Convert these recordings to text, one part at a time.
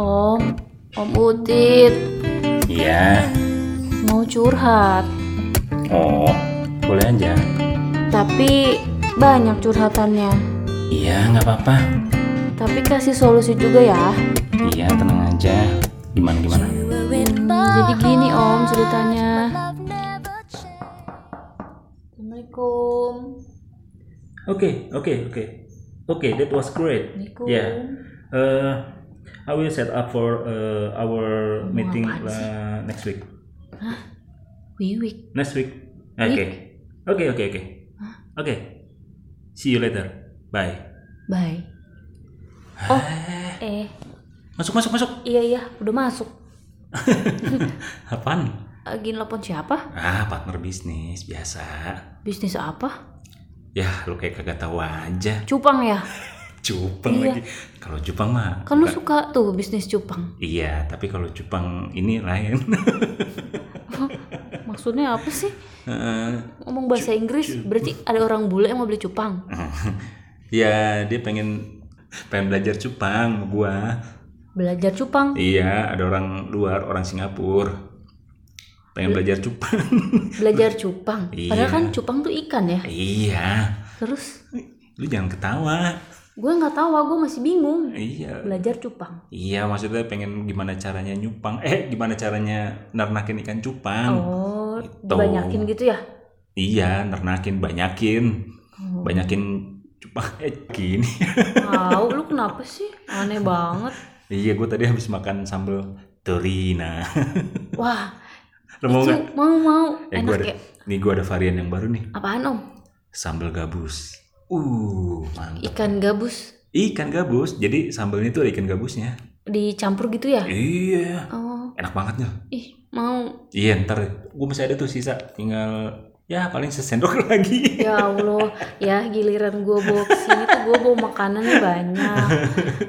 Om, Om Udit Iya. mau curhat. Oh, boleh aja. Tapi banyak curhatannya. Iya, nggak apa-apa. Tapi kasih solusi juga ya. Iya, tenang aja. Gimana gimana? Hmm, jadi gini Om ceritanya. Assalamualaikum. Oke, oke, oke. Oke, that was great. Assalamualaikum. Yeah. Uh, I will set up for uh, our Ngomong meeting apaan sih? uh, next week. Wiwik. Next week. Oke. Oke, oke, oke. Oke. See you later. Bye. Bye. Oh, eh, Masuk, masuk, masuk. iya iya, udah masuk. Apaan? Lagi nelpon siapa? Ah, partner bisnis biasa. Bisnis apa? Ya, lu kayak kagak tahu aja. Cupang ya? Cupang Iya. lagi. Kalau Jepang mah Kan lu bukan- suka tuh bisnis cupang. Iya, tapi kalau Jepang ini lain. Maksudnya apa sih? Eh, Ngomong bahasa Inggris berarti ada orang bule yang mau beli cupang. ya, dia pengen pengen belajar Jepang sama gua. Belajar cupang. Iya, ada orang luar, orang Singapura. Pengen belajar Jepang. Belajar cupang. Iya. Padahal kan cupang tuh ikan ya. iya. Terus Lu jangan ketawa. gue nggak tahu, gue masih bingung. Iya. Belajar cupang. Iya, maksudnya pengen gimana caranya nyupang. Eh, gimana caranya nernakin ikan cupang. Oh, gitu. dibanyakin gitu ya? Iya, nernakin banyakin. Oh. banyakin cupang eh gini Wow, lu kenapa sih? Aneh banget. iya gue tadi habis makan sambal terina Wah, lo mau itu nggak mau mau eh gue enak ada ya. nih gue ada varian yang baru nih Apaan om? sambal gabus uh mantap Ikan gabus ikan gabus jadi sambalnya itu ada ikan gabusnya dicampur gitu ya? iya Oh, enak banget nih ih mau. iya ntar gue masih ada tuh sisa tinggal ya paling sesendok lagi Ya Allah, ya giliran gue bawa kesini tuh gue bawa makanannya banyak.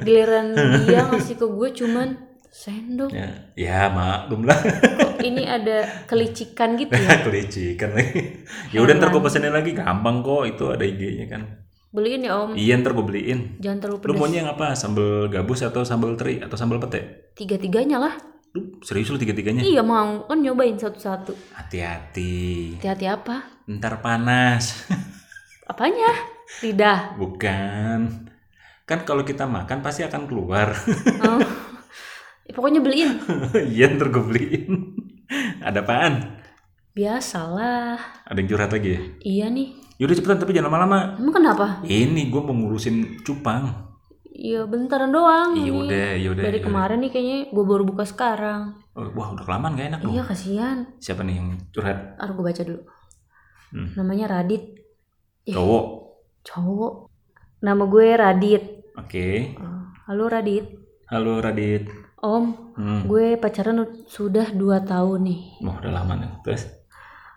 Giliran dia ngasih ke gue cuman sendok. ya, ya maklum lah Kok ini ada kelicikan gitu Iya. ya? kelicikan lagi ya udah ntar gue pesenin lagi gampang kok itu ada ig-nya kan Beliin ya om. iya ntar gue beliin Jangan terlalu Lu pedas. maunya yang apa? Sambal gabus atau sambal teri atau sambal pete? Tiga-tiganya lah. Lu serius lu tiga-tiganya? Iya mau. Kan nyobain satu-satu. Hati-hati. Hati-hati apa? Ntar panas. Apanya? Lidah. Bukan. Kan kalau kita makan pasti akan keluar. Oh. Eh, Pokoknya beliin. Iya ntar gue beliin. Ada apaan? Biasalah. Ada yang curhat lagi ya? Iya nih. Yaudah cepetan tapi jangan lama-lama. Emang kenapa? Ini gue mau ngurusin cupang. Iya bentaran doang. Iya ini. udah, iya udah. Dari iya kemarin nih kayaknya gue baru buka sekarang. udah. Oh, wah udah kelamaan gak enak dong. Iya kasihan. Siapa nih yang curhat? Harus gue baca dulu. Hmm. Namanya Radit. Ih. Cowok. Cowok. Nama gue Radit. Oke. Oh, Halo Radit. Halo Radit. Om, Hmm. gue pacaran ud- sudah 2 tahun nih. Wah udah lama nih. Terus?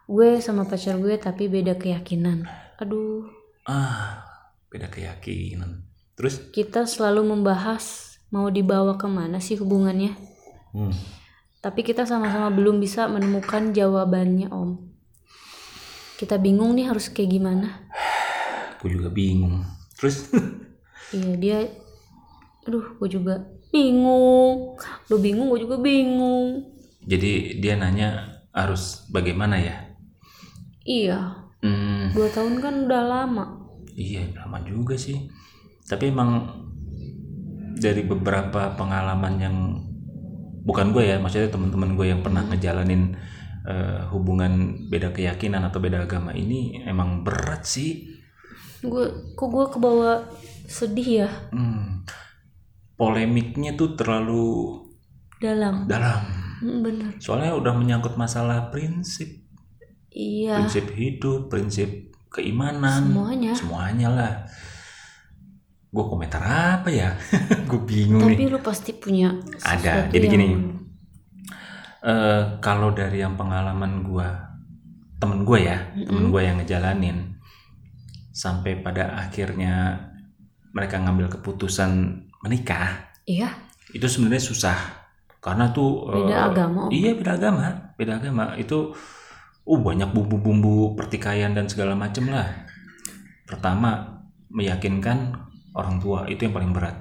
Gue sama pacar gue tapi beda keyakinan. Aduh, ah beda keyakinan terus kita selalu membahas mau dibawa kemana sih hubungannya. hmm. Tapi kita sama-sama belum bisa menemukan jawabannya, Om. Kita bingung nih harus kayak gimana. aku juga bingung terus Iya, dia aduh, gue juga bingung. Lu bingung, gue juga bingung. jadi dia nanya harus bagaimana ya Iya, hmm, dua tahun kan udah lama. iya lama juga sih tapi emang dari beberapa pengalaman yang bukan gue ya maksudnya teman-teman gue yang pernah ngejalanin eh, hubungan beda keyakinan atau beda agama ini emang berat sih Gue kok gue kebawa sedih ya Hmm, polemiknya tuh terlalu dalam. dalam Mm, Bener. soalnya udah menyangkut masalah prinsip Iya. prinsip hidup prinsip keimanan Semuanya. semuanya lah gue komentar apa ya gue bingung Tapi nih lu pasti punya Ada, sesuatu jadi yang- gini. Eh, kalau dari yang pengalaman gue temen gue ya temen Mm-mm. gue yang ngejalanin sampai pada akhirnya mereka ngambil keputusan menikah Iya, itu sebenarnya susah karena tuh eh, beda agama. Om. Iya beda agama, beda agama itu uh banyak bumbu-bumbu pertikaian dan segala macem lah. Pertama meyakinkan orang tua itu yang paling berat.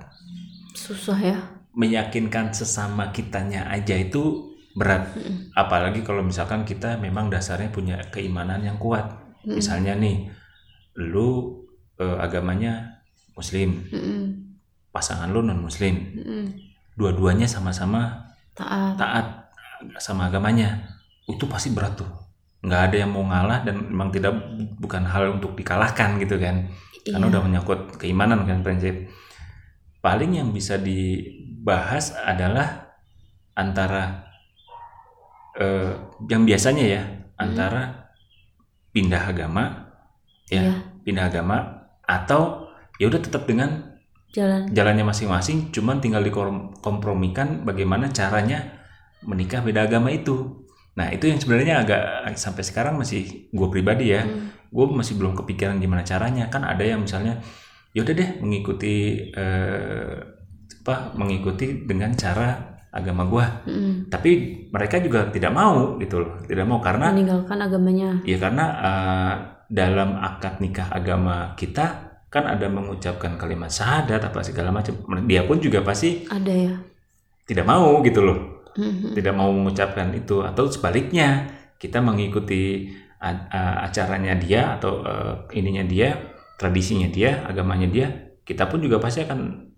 Susah ya. meyakinkan sesama kitanya aja itu berat apalagi kalau misalkan kita memang dasarnya punya keimanan yang kuat Mm-mm. misalnya nih lu eh, agamanya muslim Mm-mm. pasangan lu non muslim Mm-mm. dua-duanya sama-sama taat taat sama agamanya itu pasti berat tuh nggak ada yang mau ngalah dan memang tidak bukan hal untuk dikalahkan gitu kan karena Iya. udah menyangkut keimanan kan prinsip paling yang bisa dibahas adalah antara eh, yang biasanya ya Hmm. antara pindah agama ya Iya. pindah agama atau ya udah tetap dengan jalan jalannya masing-masing cuman tinggal dikompromikan bagaimana caranya menikah beda agama itu nah itu yang sebenarnya agak sampai sekarang masih gue pribadi ya Mm. gue masih belum kepikiran gimana caranya kan ada yang misalnya yaudah deh mengikuti eh, apa mengikuti dengan cara agama gue Mm-mm. tapi mereka juga tidak mau gitu loh tidak mau karena meninggalkan agamanya ya karena eh, dalam akad nikah agama kita kan ada mengucapkan kalimat syahadat apa segala macam dia pun juga pasti ada ya tidak mau gitu loh Mm-mm. tidak mau mengucapkan itu atau sebaliknya kita mengikuti a- a- acaranya dia atau eh, ininya dia tradisinya dia agamanya dia kita pun juga pasti akan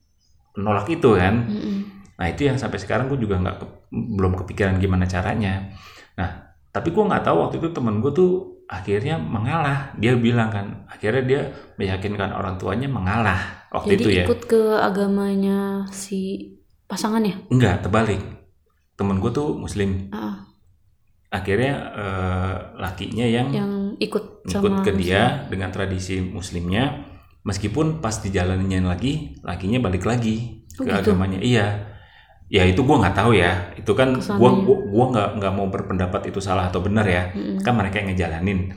menolak itu kan Mm-mm. nah itu yang sampai sekarang gue juga nggak ke- belum kepikiran gimana caranya nah tapi gue nggak tahu waktu itu temen gue tuh akhirnya mengalah dia bilang kan akhirnya dia meyakinkan orang tuanya mengalah waktu jadi itu ya ikut ke agamanya si pasangan ya enggak terbalik temen gue tuh muslim Ah. akhirnya eh, lakinya yang yang ikut ikut sama ke dia dengan tradisi muslimnya meskipun pas dijalannya lagi lakinya balik lagi Oh, ke gitu? agamanya iya ya itu gua nggak tahu ya itu kan Kesannya. gua gua gua nggak nggak mau berpendapat itu salah atau benar ya Mm-mm. kan mereka yang ngejalanin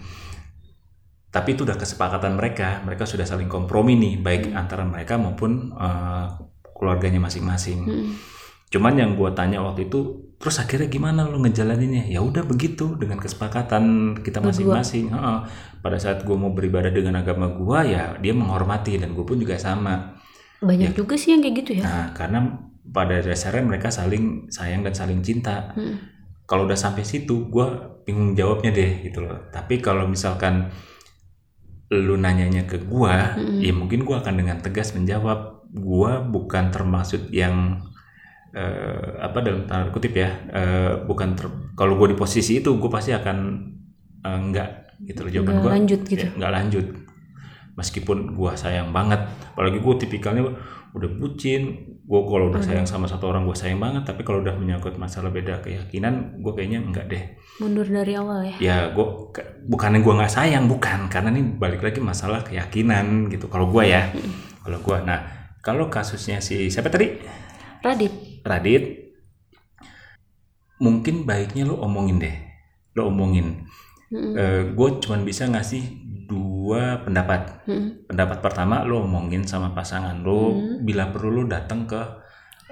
tapi itu udah kesepakatan mereka mereka sudah saling kompromi nih baik Hmm. antara mereka maupun eh, keluarganya masing-masing Mm-mm. Cuman yang gue tanya waktu itu, terus akhirnya gimana lu ngejalaninnya? Ya udah begitu dengan kesepakatan kita Berdua. masing-masing. Heeh. Pada saat gue mau beribadah dengan agama gue, ya dia menghormati dan gue pun juga sama. banyak juga sih yang kayak gitu ya Nah, karena pada dasarnya mereka saling sayang dan saling cinta. Mm-mm. Kalau udah sampai situ, gue bingung jawabnya deh gitu loh. Tapi kalau misalkan lu nanyanya ke gue, Mm-mm. ya mungkin gue akan dengan tegas menjawab. Gue bukan termasuk yang eh, apa dalam tanda kutip ya eh, bukan ter- kalau gue di posisi itu gue pasti akan eh, enggak gitu loh jawaban Nggak gue lanjut gitu enggak lanjut meskipun gue sayang banget apalagi gue tipikalnya udah bucin gue kalau udah Aduh. sayang sama satu orang gue sayang banget tapi kalau udah menyangkut masalah beda keyakinan gue kayaknya enggak deh mundur dari awal ya ya gue bukannya gue nggak sayang bukan karena ini balik lagi masalah keyakinan gitu kalau gue ya kalau gue nah kalau kasusnya si siapa tadi Radit Radit, mungkin baiknya lo omongin deh. Lo omongin. Mm-mm. gue cuman bisa ngasih dua pendapat. Mm-mm. Pendapat pertama lo omongin sama pasangan lo. Hmm. Bila perlu lo datang ke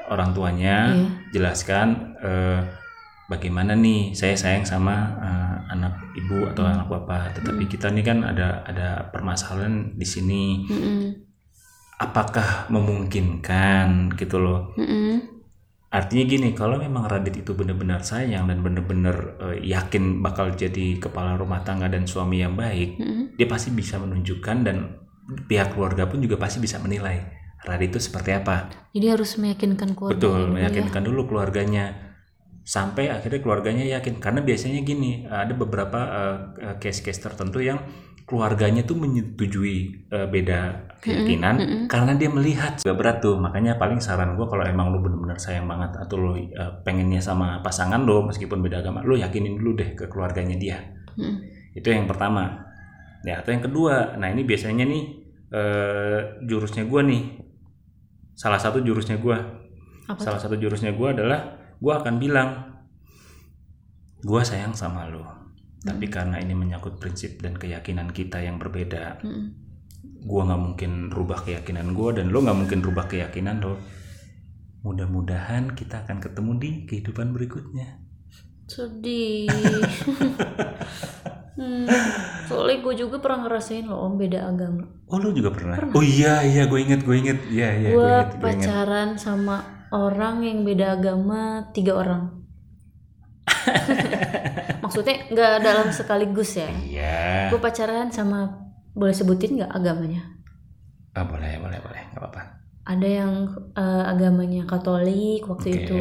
orang tuanya, Iya. jelaskan eh, bagaimana nih saya sayang sama eh, anak ibu atau anak bapak. Tetapi kita nih kan ada ada permasalahan di sini. Mm-mm. Apakah memungkinkan gitu loh? Mm-mm. Artinya gini, kalau memang Radit itu benar-benar sayang dan benar-benar eh, yakin bakal jadi kepala rumah tangga dan suami yang baik, Mm-mm. dia pasti bisa menunjukkan dan pihak keluarga pun juga pasti bisa menilai Radit itu seperti apa. jadi harus meyakinkan keluarga Betul, dulu ya. meyakinkan dulu keluarganya sampai akhirnya keluarganya yakin. Karena biasanya gini, ada beberapa eh, eh, case-case tertentu yang keluarganya tuh menyetujui eh, beda keyakinan mm-mm. karena dia melihat juga berat tuh. Makanya paling saran gue kalau emang lu bener-bener sayang banget atau lu eh, pengennya sama pasangan lo meskipun beda agama, lu yakinin dulu deh ke keluarganya dia. Mm-mm. Itu yang pertama. Ya, atau yang kedua. Nah, ini biasanya nih eh, jurusnya gua nih. Salah satu jurusnya gua. Apa Salah satu jurusnya gua adalah gua akan bilang gua sayang sama lo. Hmm. Tapi karena ini menyangkut prinsip dan keyakinan kita yang berbeda, Mm-mm. gua nggak mungkin rubah keyakinan gua dan lo nggak mungkin rubah keyakinan lo. Mudah-mudahan kita akan ketemu di kehidupan berikutnya. sedih Hmm, soalnya gue juga pernah ngerasain loh om beda agama Oh lo juga pernah? Pernah. Oh iya iya gue inget gue inget iya iya gue inget, inget. pacaran sama orang yang beda agama tiga orang maksudnya nggak dalam sekaligus ya Iya. gue pacaran sama boleh sebutin nggak agamanya Ah, boleh, boleh, boleh. Gak apa-apa. ada yang eh, agamanya Katolik waktu Oke. itu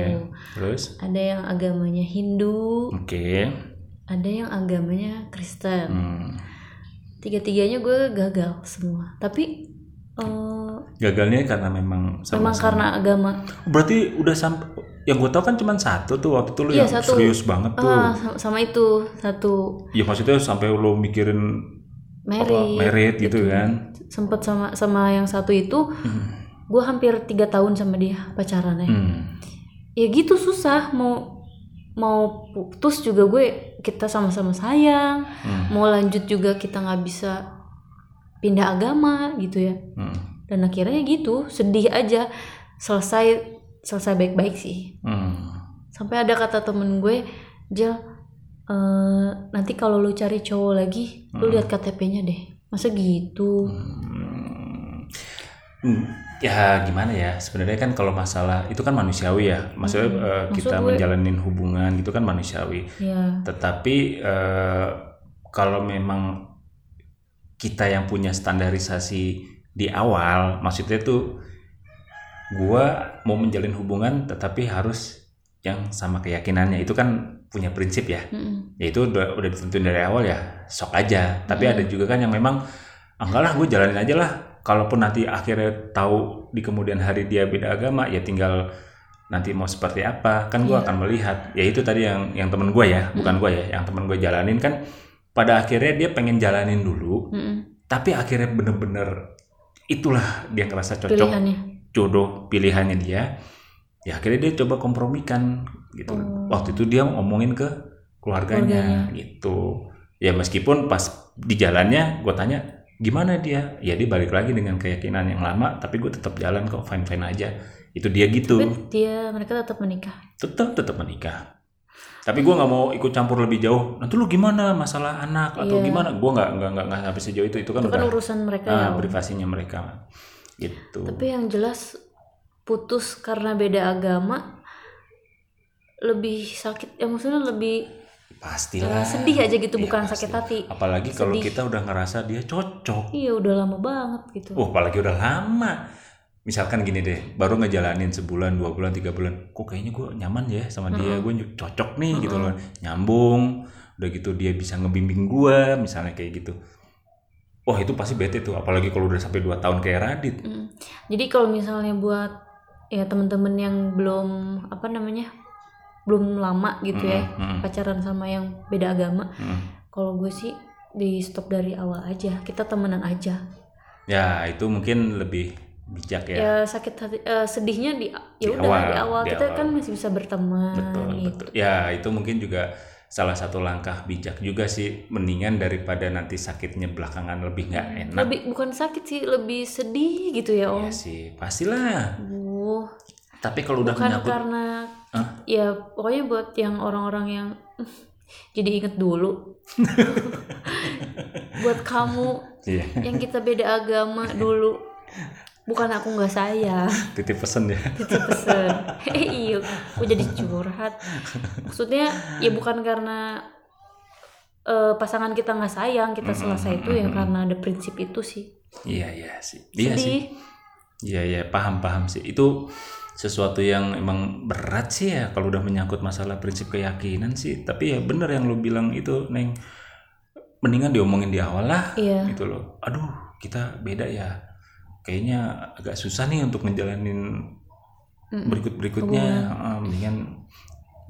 Terus? ada yang agamanya Hindu Oke. Iya. ada yang agamanya Kristen Hmm. tiga-tiganya gue gagal semua tapi eh, Gagalnya karena memang sama memang karena agama Berarti udah sampai yang gue tau kan cuma satu tuh waktu itu lu Iya, yang satu. serius banget tuh. Ah, sama, sama itu satu Ya maksudnya sampai lu mikirin apa Mary merit gitu kan. sempet sama sama yang satu itu Hmm. gue hampir tiga tahun sama dia pacarannya Hmm. ya gitu susah mau mau putus juga gue kita sama-sama sayang Hmm. mau lanjut juga kita nggak bisa pindah agama gitu ya Hmm. dan akhirnya gitu sedih aja selesai selesai baik-baik sih Hmm. sampai ada kata temen gue Jel eh, nanti kalau lu cari cowok lagi lu Hmm. lihat KTP-nya deh masa gitu Mm. Hmm. Hmm. Ya gimana ya sebenarnya kan kalau masalah itu kan manusiawi ya maksudnya Hmm. eh, Maksud kita gue- menjalani hubungan gitu kan manusiawi ya tetapi eh, kalau memang kita yang punya standarisasi di awal maksudnya tuh gua mau menjalin hubungan tetapi harus yang sama keyakinannya itu kan punya prinsip ya Mm-mm. ya itu udah, udah ditentuin dari awal ya sok aja tapi Hmm. ada juga kan yang memang "Ah, enggak lah gue jalanin aja lah kalaupun nanti akhirnya tahu di kemudian hari dia beda agama ya tinggal nanti mau seperti apa kan gue Iya. Hmm. akan melihat ya itu tadi yang yang temen gue ya bukan gue ya yang temen gue jalanin kan pada akhirnya dia pengen jalanin dulu Mm-mm. tapi akhirnya bener-bener itulah dia ngerasa cocok pilihannya jodoh pilihannya dia ya akhirnya dia coba kompromikan gitu Oh. waktu itu dia ngomongin ke keluarganya, gitu ya meskipun pas di jalannya gue tanya gimana dia ya dia balik lagi dengan keyakinan yang lama tapi gue tetap jalan kok fine fine aja itu dia gitu tapi dia iya, mereka tetap menikah tetap tetap menikah tapi gue nggak mau ikut campur lebih jauh nanti lu gimana masalah anak atau Iya. gimana gue nggak nggak nggak nggak sampai sejauh itu itu kan itu kan udah urusan mereka ah, ya Om. privasinya mereka gitu tapi yang jelas putus karena beda agama lebih sakit ya maksudnya lebih pastilah eh, sedih aja gitu Iya, bukan pasti. sakit hati apalagi kalau Sedih. kita udah ngerasa dia cocok iya udah lama banget gitu Wah, apalagi udah lama. Misalkan gini deh, baru ngejalanin sebulan, dua bulan, tiga bulan. Kok kayaknya gue nyaman ya sama dia, gue cocok nih gitu loh. Nyambung, udah gitu dia bisa ngebimbing gue, misalnya kayak gitu. Wah itu pasti bete tuh, apalagi kalau udah sampai dua tahun kayak Radit. Mm. Jadi kalau misalnya buat ya temen-temen yang belum apa namanya belum lama gitu ya Mm-mm, mm-mm, pacaran sama yang beda agama, mm-mm. kalau gue sih di stop dari awal aja. Kita temenan aja. Ya itu mungkin lebih bijak ya. Ya sakit hati eh, sedihnya di ya Di udah awal, di awal di kita awal. kan masih bisa berteman betul gitu. betul ya itu mungkin juga salah satu langkah bijak juga sih mendingan daripada nanti sakitnya belakangan lebih nggak enak Hmm, Lebih bukan sakit sih, lebih sedih gitu ya, Om. ya sih pastilah Aduh, tapi kalau udah bukan menyangkut karena Hah? ya pokoknya buat yang orang-orang yang jadi inget dulu buat kamu Iya, yang kita beda agama dulu bukan aku nggak sayang titip pesan ya itu pesen eh iya aku jadi curhat maksudnya ya bukan karena eh, pasangan kita nggak sayang kita selesai itu ya karena ada prinsip itu sih iya iya sih iya sih sedih iya iya paham paham sih itu sesuatu yang emang berat sih ya kalau udah menyangkut masalah prinsip keyakinan sih tapi ya bener yang lu bilang itu neng mendingan diomongin di awal lah iya gitu loh aduh kita beda ya kayaknya agak susah nih untuk ngejalanin Mm-mm. berikut berikutnya eh, mendingan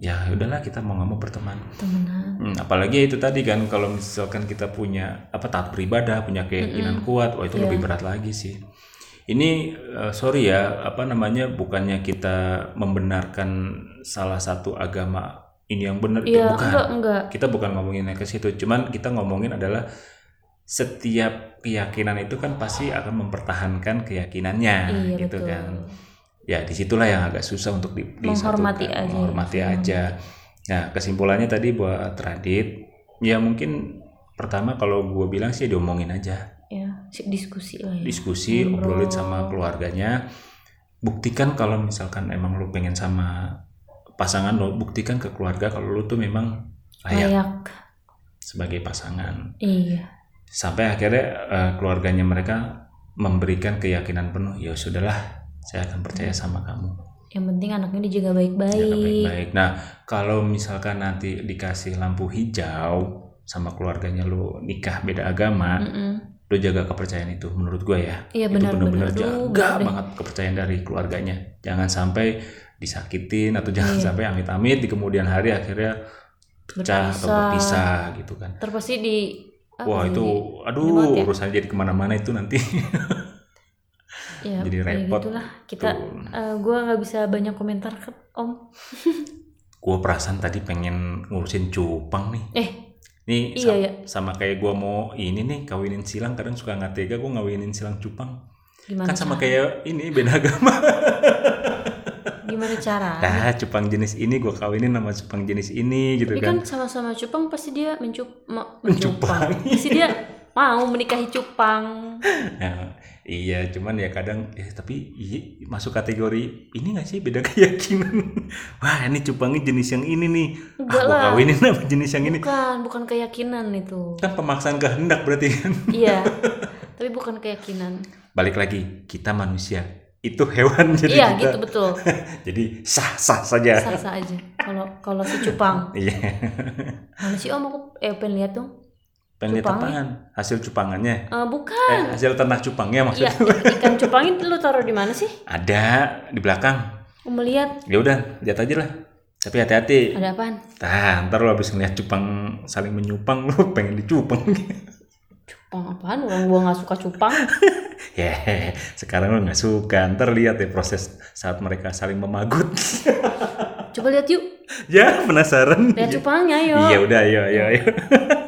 ya udahlah kita mau nggak mau berteman temenan Hmm, apalagi itu tadi kan kalau misalkan kita punya apa taat beribadah punya Hmm. keyakinan kuat wah itu lebih Iya. berat lagi sih ini eh, sorry ya apa namanya bukannya kita membenarkan salah satu agama ini yang benar itu iya bukan enggak enggak kita bukan ngomongin yang ke situ cuman kita ngomongin adalah setiap keyakinan itu kan pasti akan mempertahankan keyakinannya iya gitu betul kan ya disitulah yang agak susah untuk di, disatukan. Menghormati aja. Hmm. menghormati aja nah kesimpulannya tadi buat Radit ya mungkin pertama kalau gue bilang sih diomongin aja ya diskusi lah ya diskusi Ngobrol. obrolin sama keluarganya buktikan kalau misalkan emang lu pengen sama pasangan lo buktikan ke keluarga kalau lu tuh memang layak layak sebagai pasangan iya sampai akhirnya eh, keluarganya mereka memberikan keyakinan penuh ya sudahlah saya akan percaya Hmm. sama kamu yang penting anaknya dijaga Jaga Iya baik-baik baik-baik. Nah, kalau misalkan nanti dikasih lampu hijau sama keluarganya lu nikah beda agama, Mm-mm. lu jaga kepercayaan itu menurut gua ya. iya itu benar-benar benar-benar Duh, jaga bener deh. banget kepercayaan dari keluarganya. Jangan sampai disakitin atau jangan Iya. sampai amit-amit di kemudian hari akhirnya pecah atau Berpisah. berpisah gitu kan. terpasti di apa Wah, sih? itu banget aduh ya. urusannya jadi kemana-mana itu nanti. Ya, jadi kayak repot. gitulah kita Tuh. eh, gua nggak bisa banyak komentar ke om Gua perasaan tadi pengen ngurusin cupang nih. eh Nih Iya, sam- iya. sama kayak gua mau ini nih kawinin silang kadang suka nggak tega gue ngawinin silang cupang gimana kan sama kayak ini beda agama gimana cara nah cupang jenis ini gua kawinin sama cupang jenis ini gitu tapi kan, kan sama-sama cupang pasti dia mencup me- Mencupang. mencupang pasti dia mau menikahi cupang Nah, iya cuman ya kadang eh tapi iya, masuk kategori ini nggak sih beda keyakinan wah ini cupangnya jenis yang ini nih Enggak ah, gua lah. kawinin sama jenis yang ini bukan bukan keyakinan itu kan pemaksaan kehendak berarti kan iya tapi bukan keyakinan balik lagi kita manusia itu hewan jadi iya kita gitu betul jadi sah sah saja sah sah aja kalau kalau si cupang iya mana sih om aku eh pengen lihat dong pengen lihat Cupangnya? tepangan hasil cupangannya Eh, eh, bukan hasil ternak cupangnya iya maksudnya i- ikan cupang itu lu taruh di mana sih ada di belakang Om melihat ya udah lihat aja lah tapi hati-hati ada apaan nah ntar lo habis ngeliat cupang saling menyupang lo pengen dicupang cupang apaan orang gua nggak suka cupang ya sekarang lo nggak suka ntar lihat ya proses saat mereka saling memagut coba lihat yuk ya penasaran lihat cupangnya yuk iya udah ayo ayo ayo